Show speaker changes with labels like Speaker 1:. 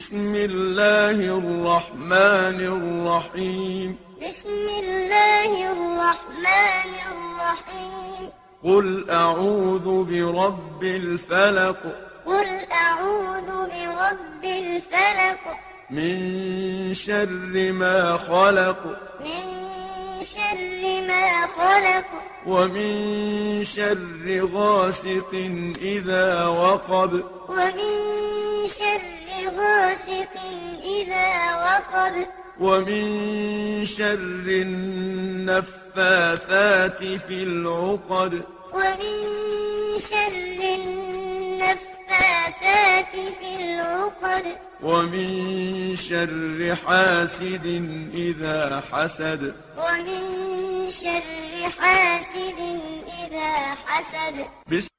Speaker 1: بسم الله الرحمن الرحيم
Speaker 2: بسم الله الرحمن الرحيم
Speaker 1: قل أعوذ برب الفلق
Speaker 2: قل أعوذ برب الفلق
Speaker 1: من شر ما خلق
Speaker 2: من شر ما خلق
Speaker 1: ومن شر غاسق إذا وقب
Speaker 2: ومن شر غاسق إذا وقب
Speaker 1: ومن شر النفاثات في العقد
Speaker 2: ومن شر النفاثات في العقد
Speaker 1: ومن شر حاسد إذا حسد
Speaker 2: ومن شر حاسد إذا حسد
Speaker 1: بسم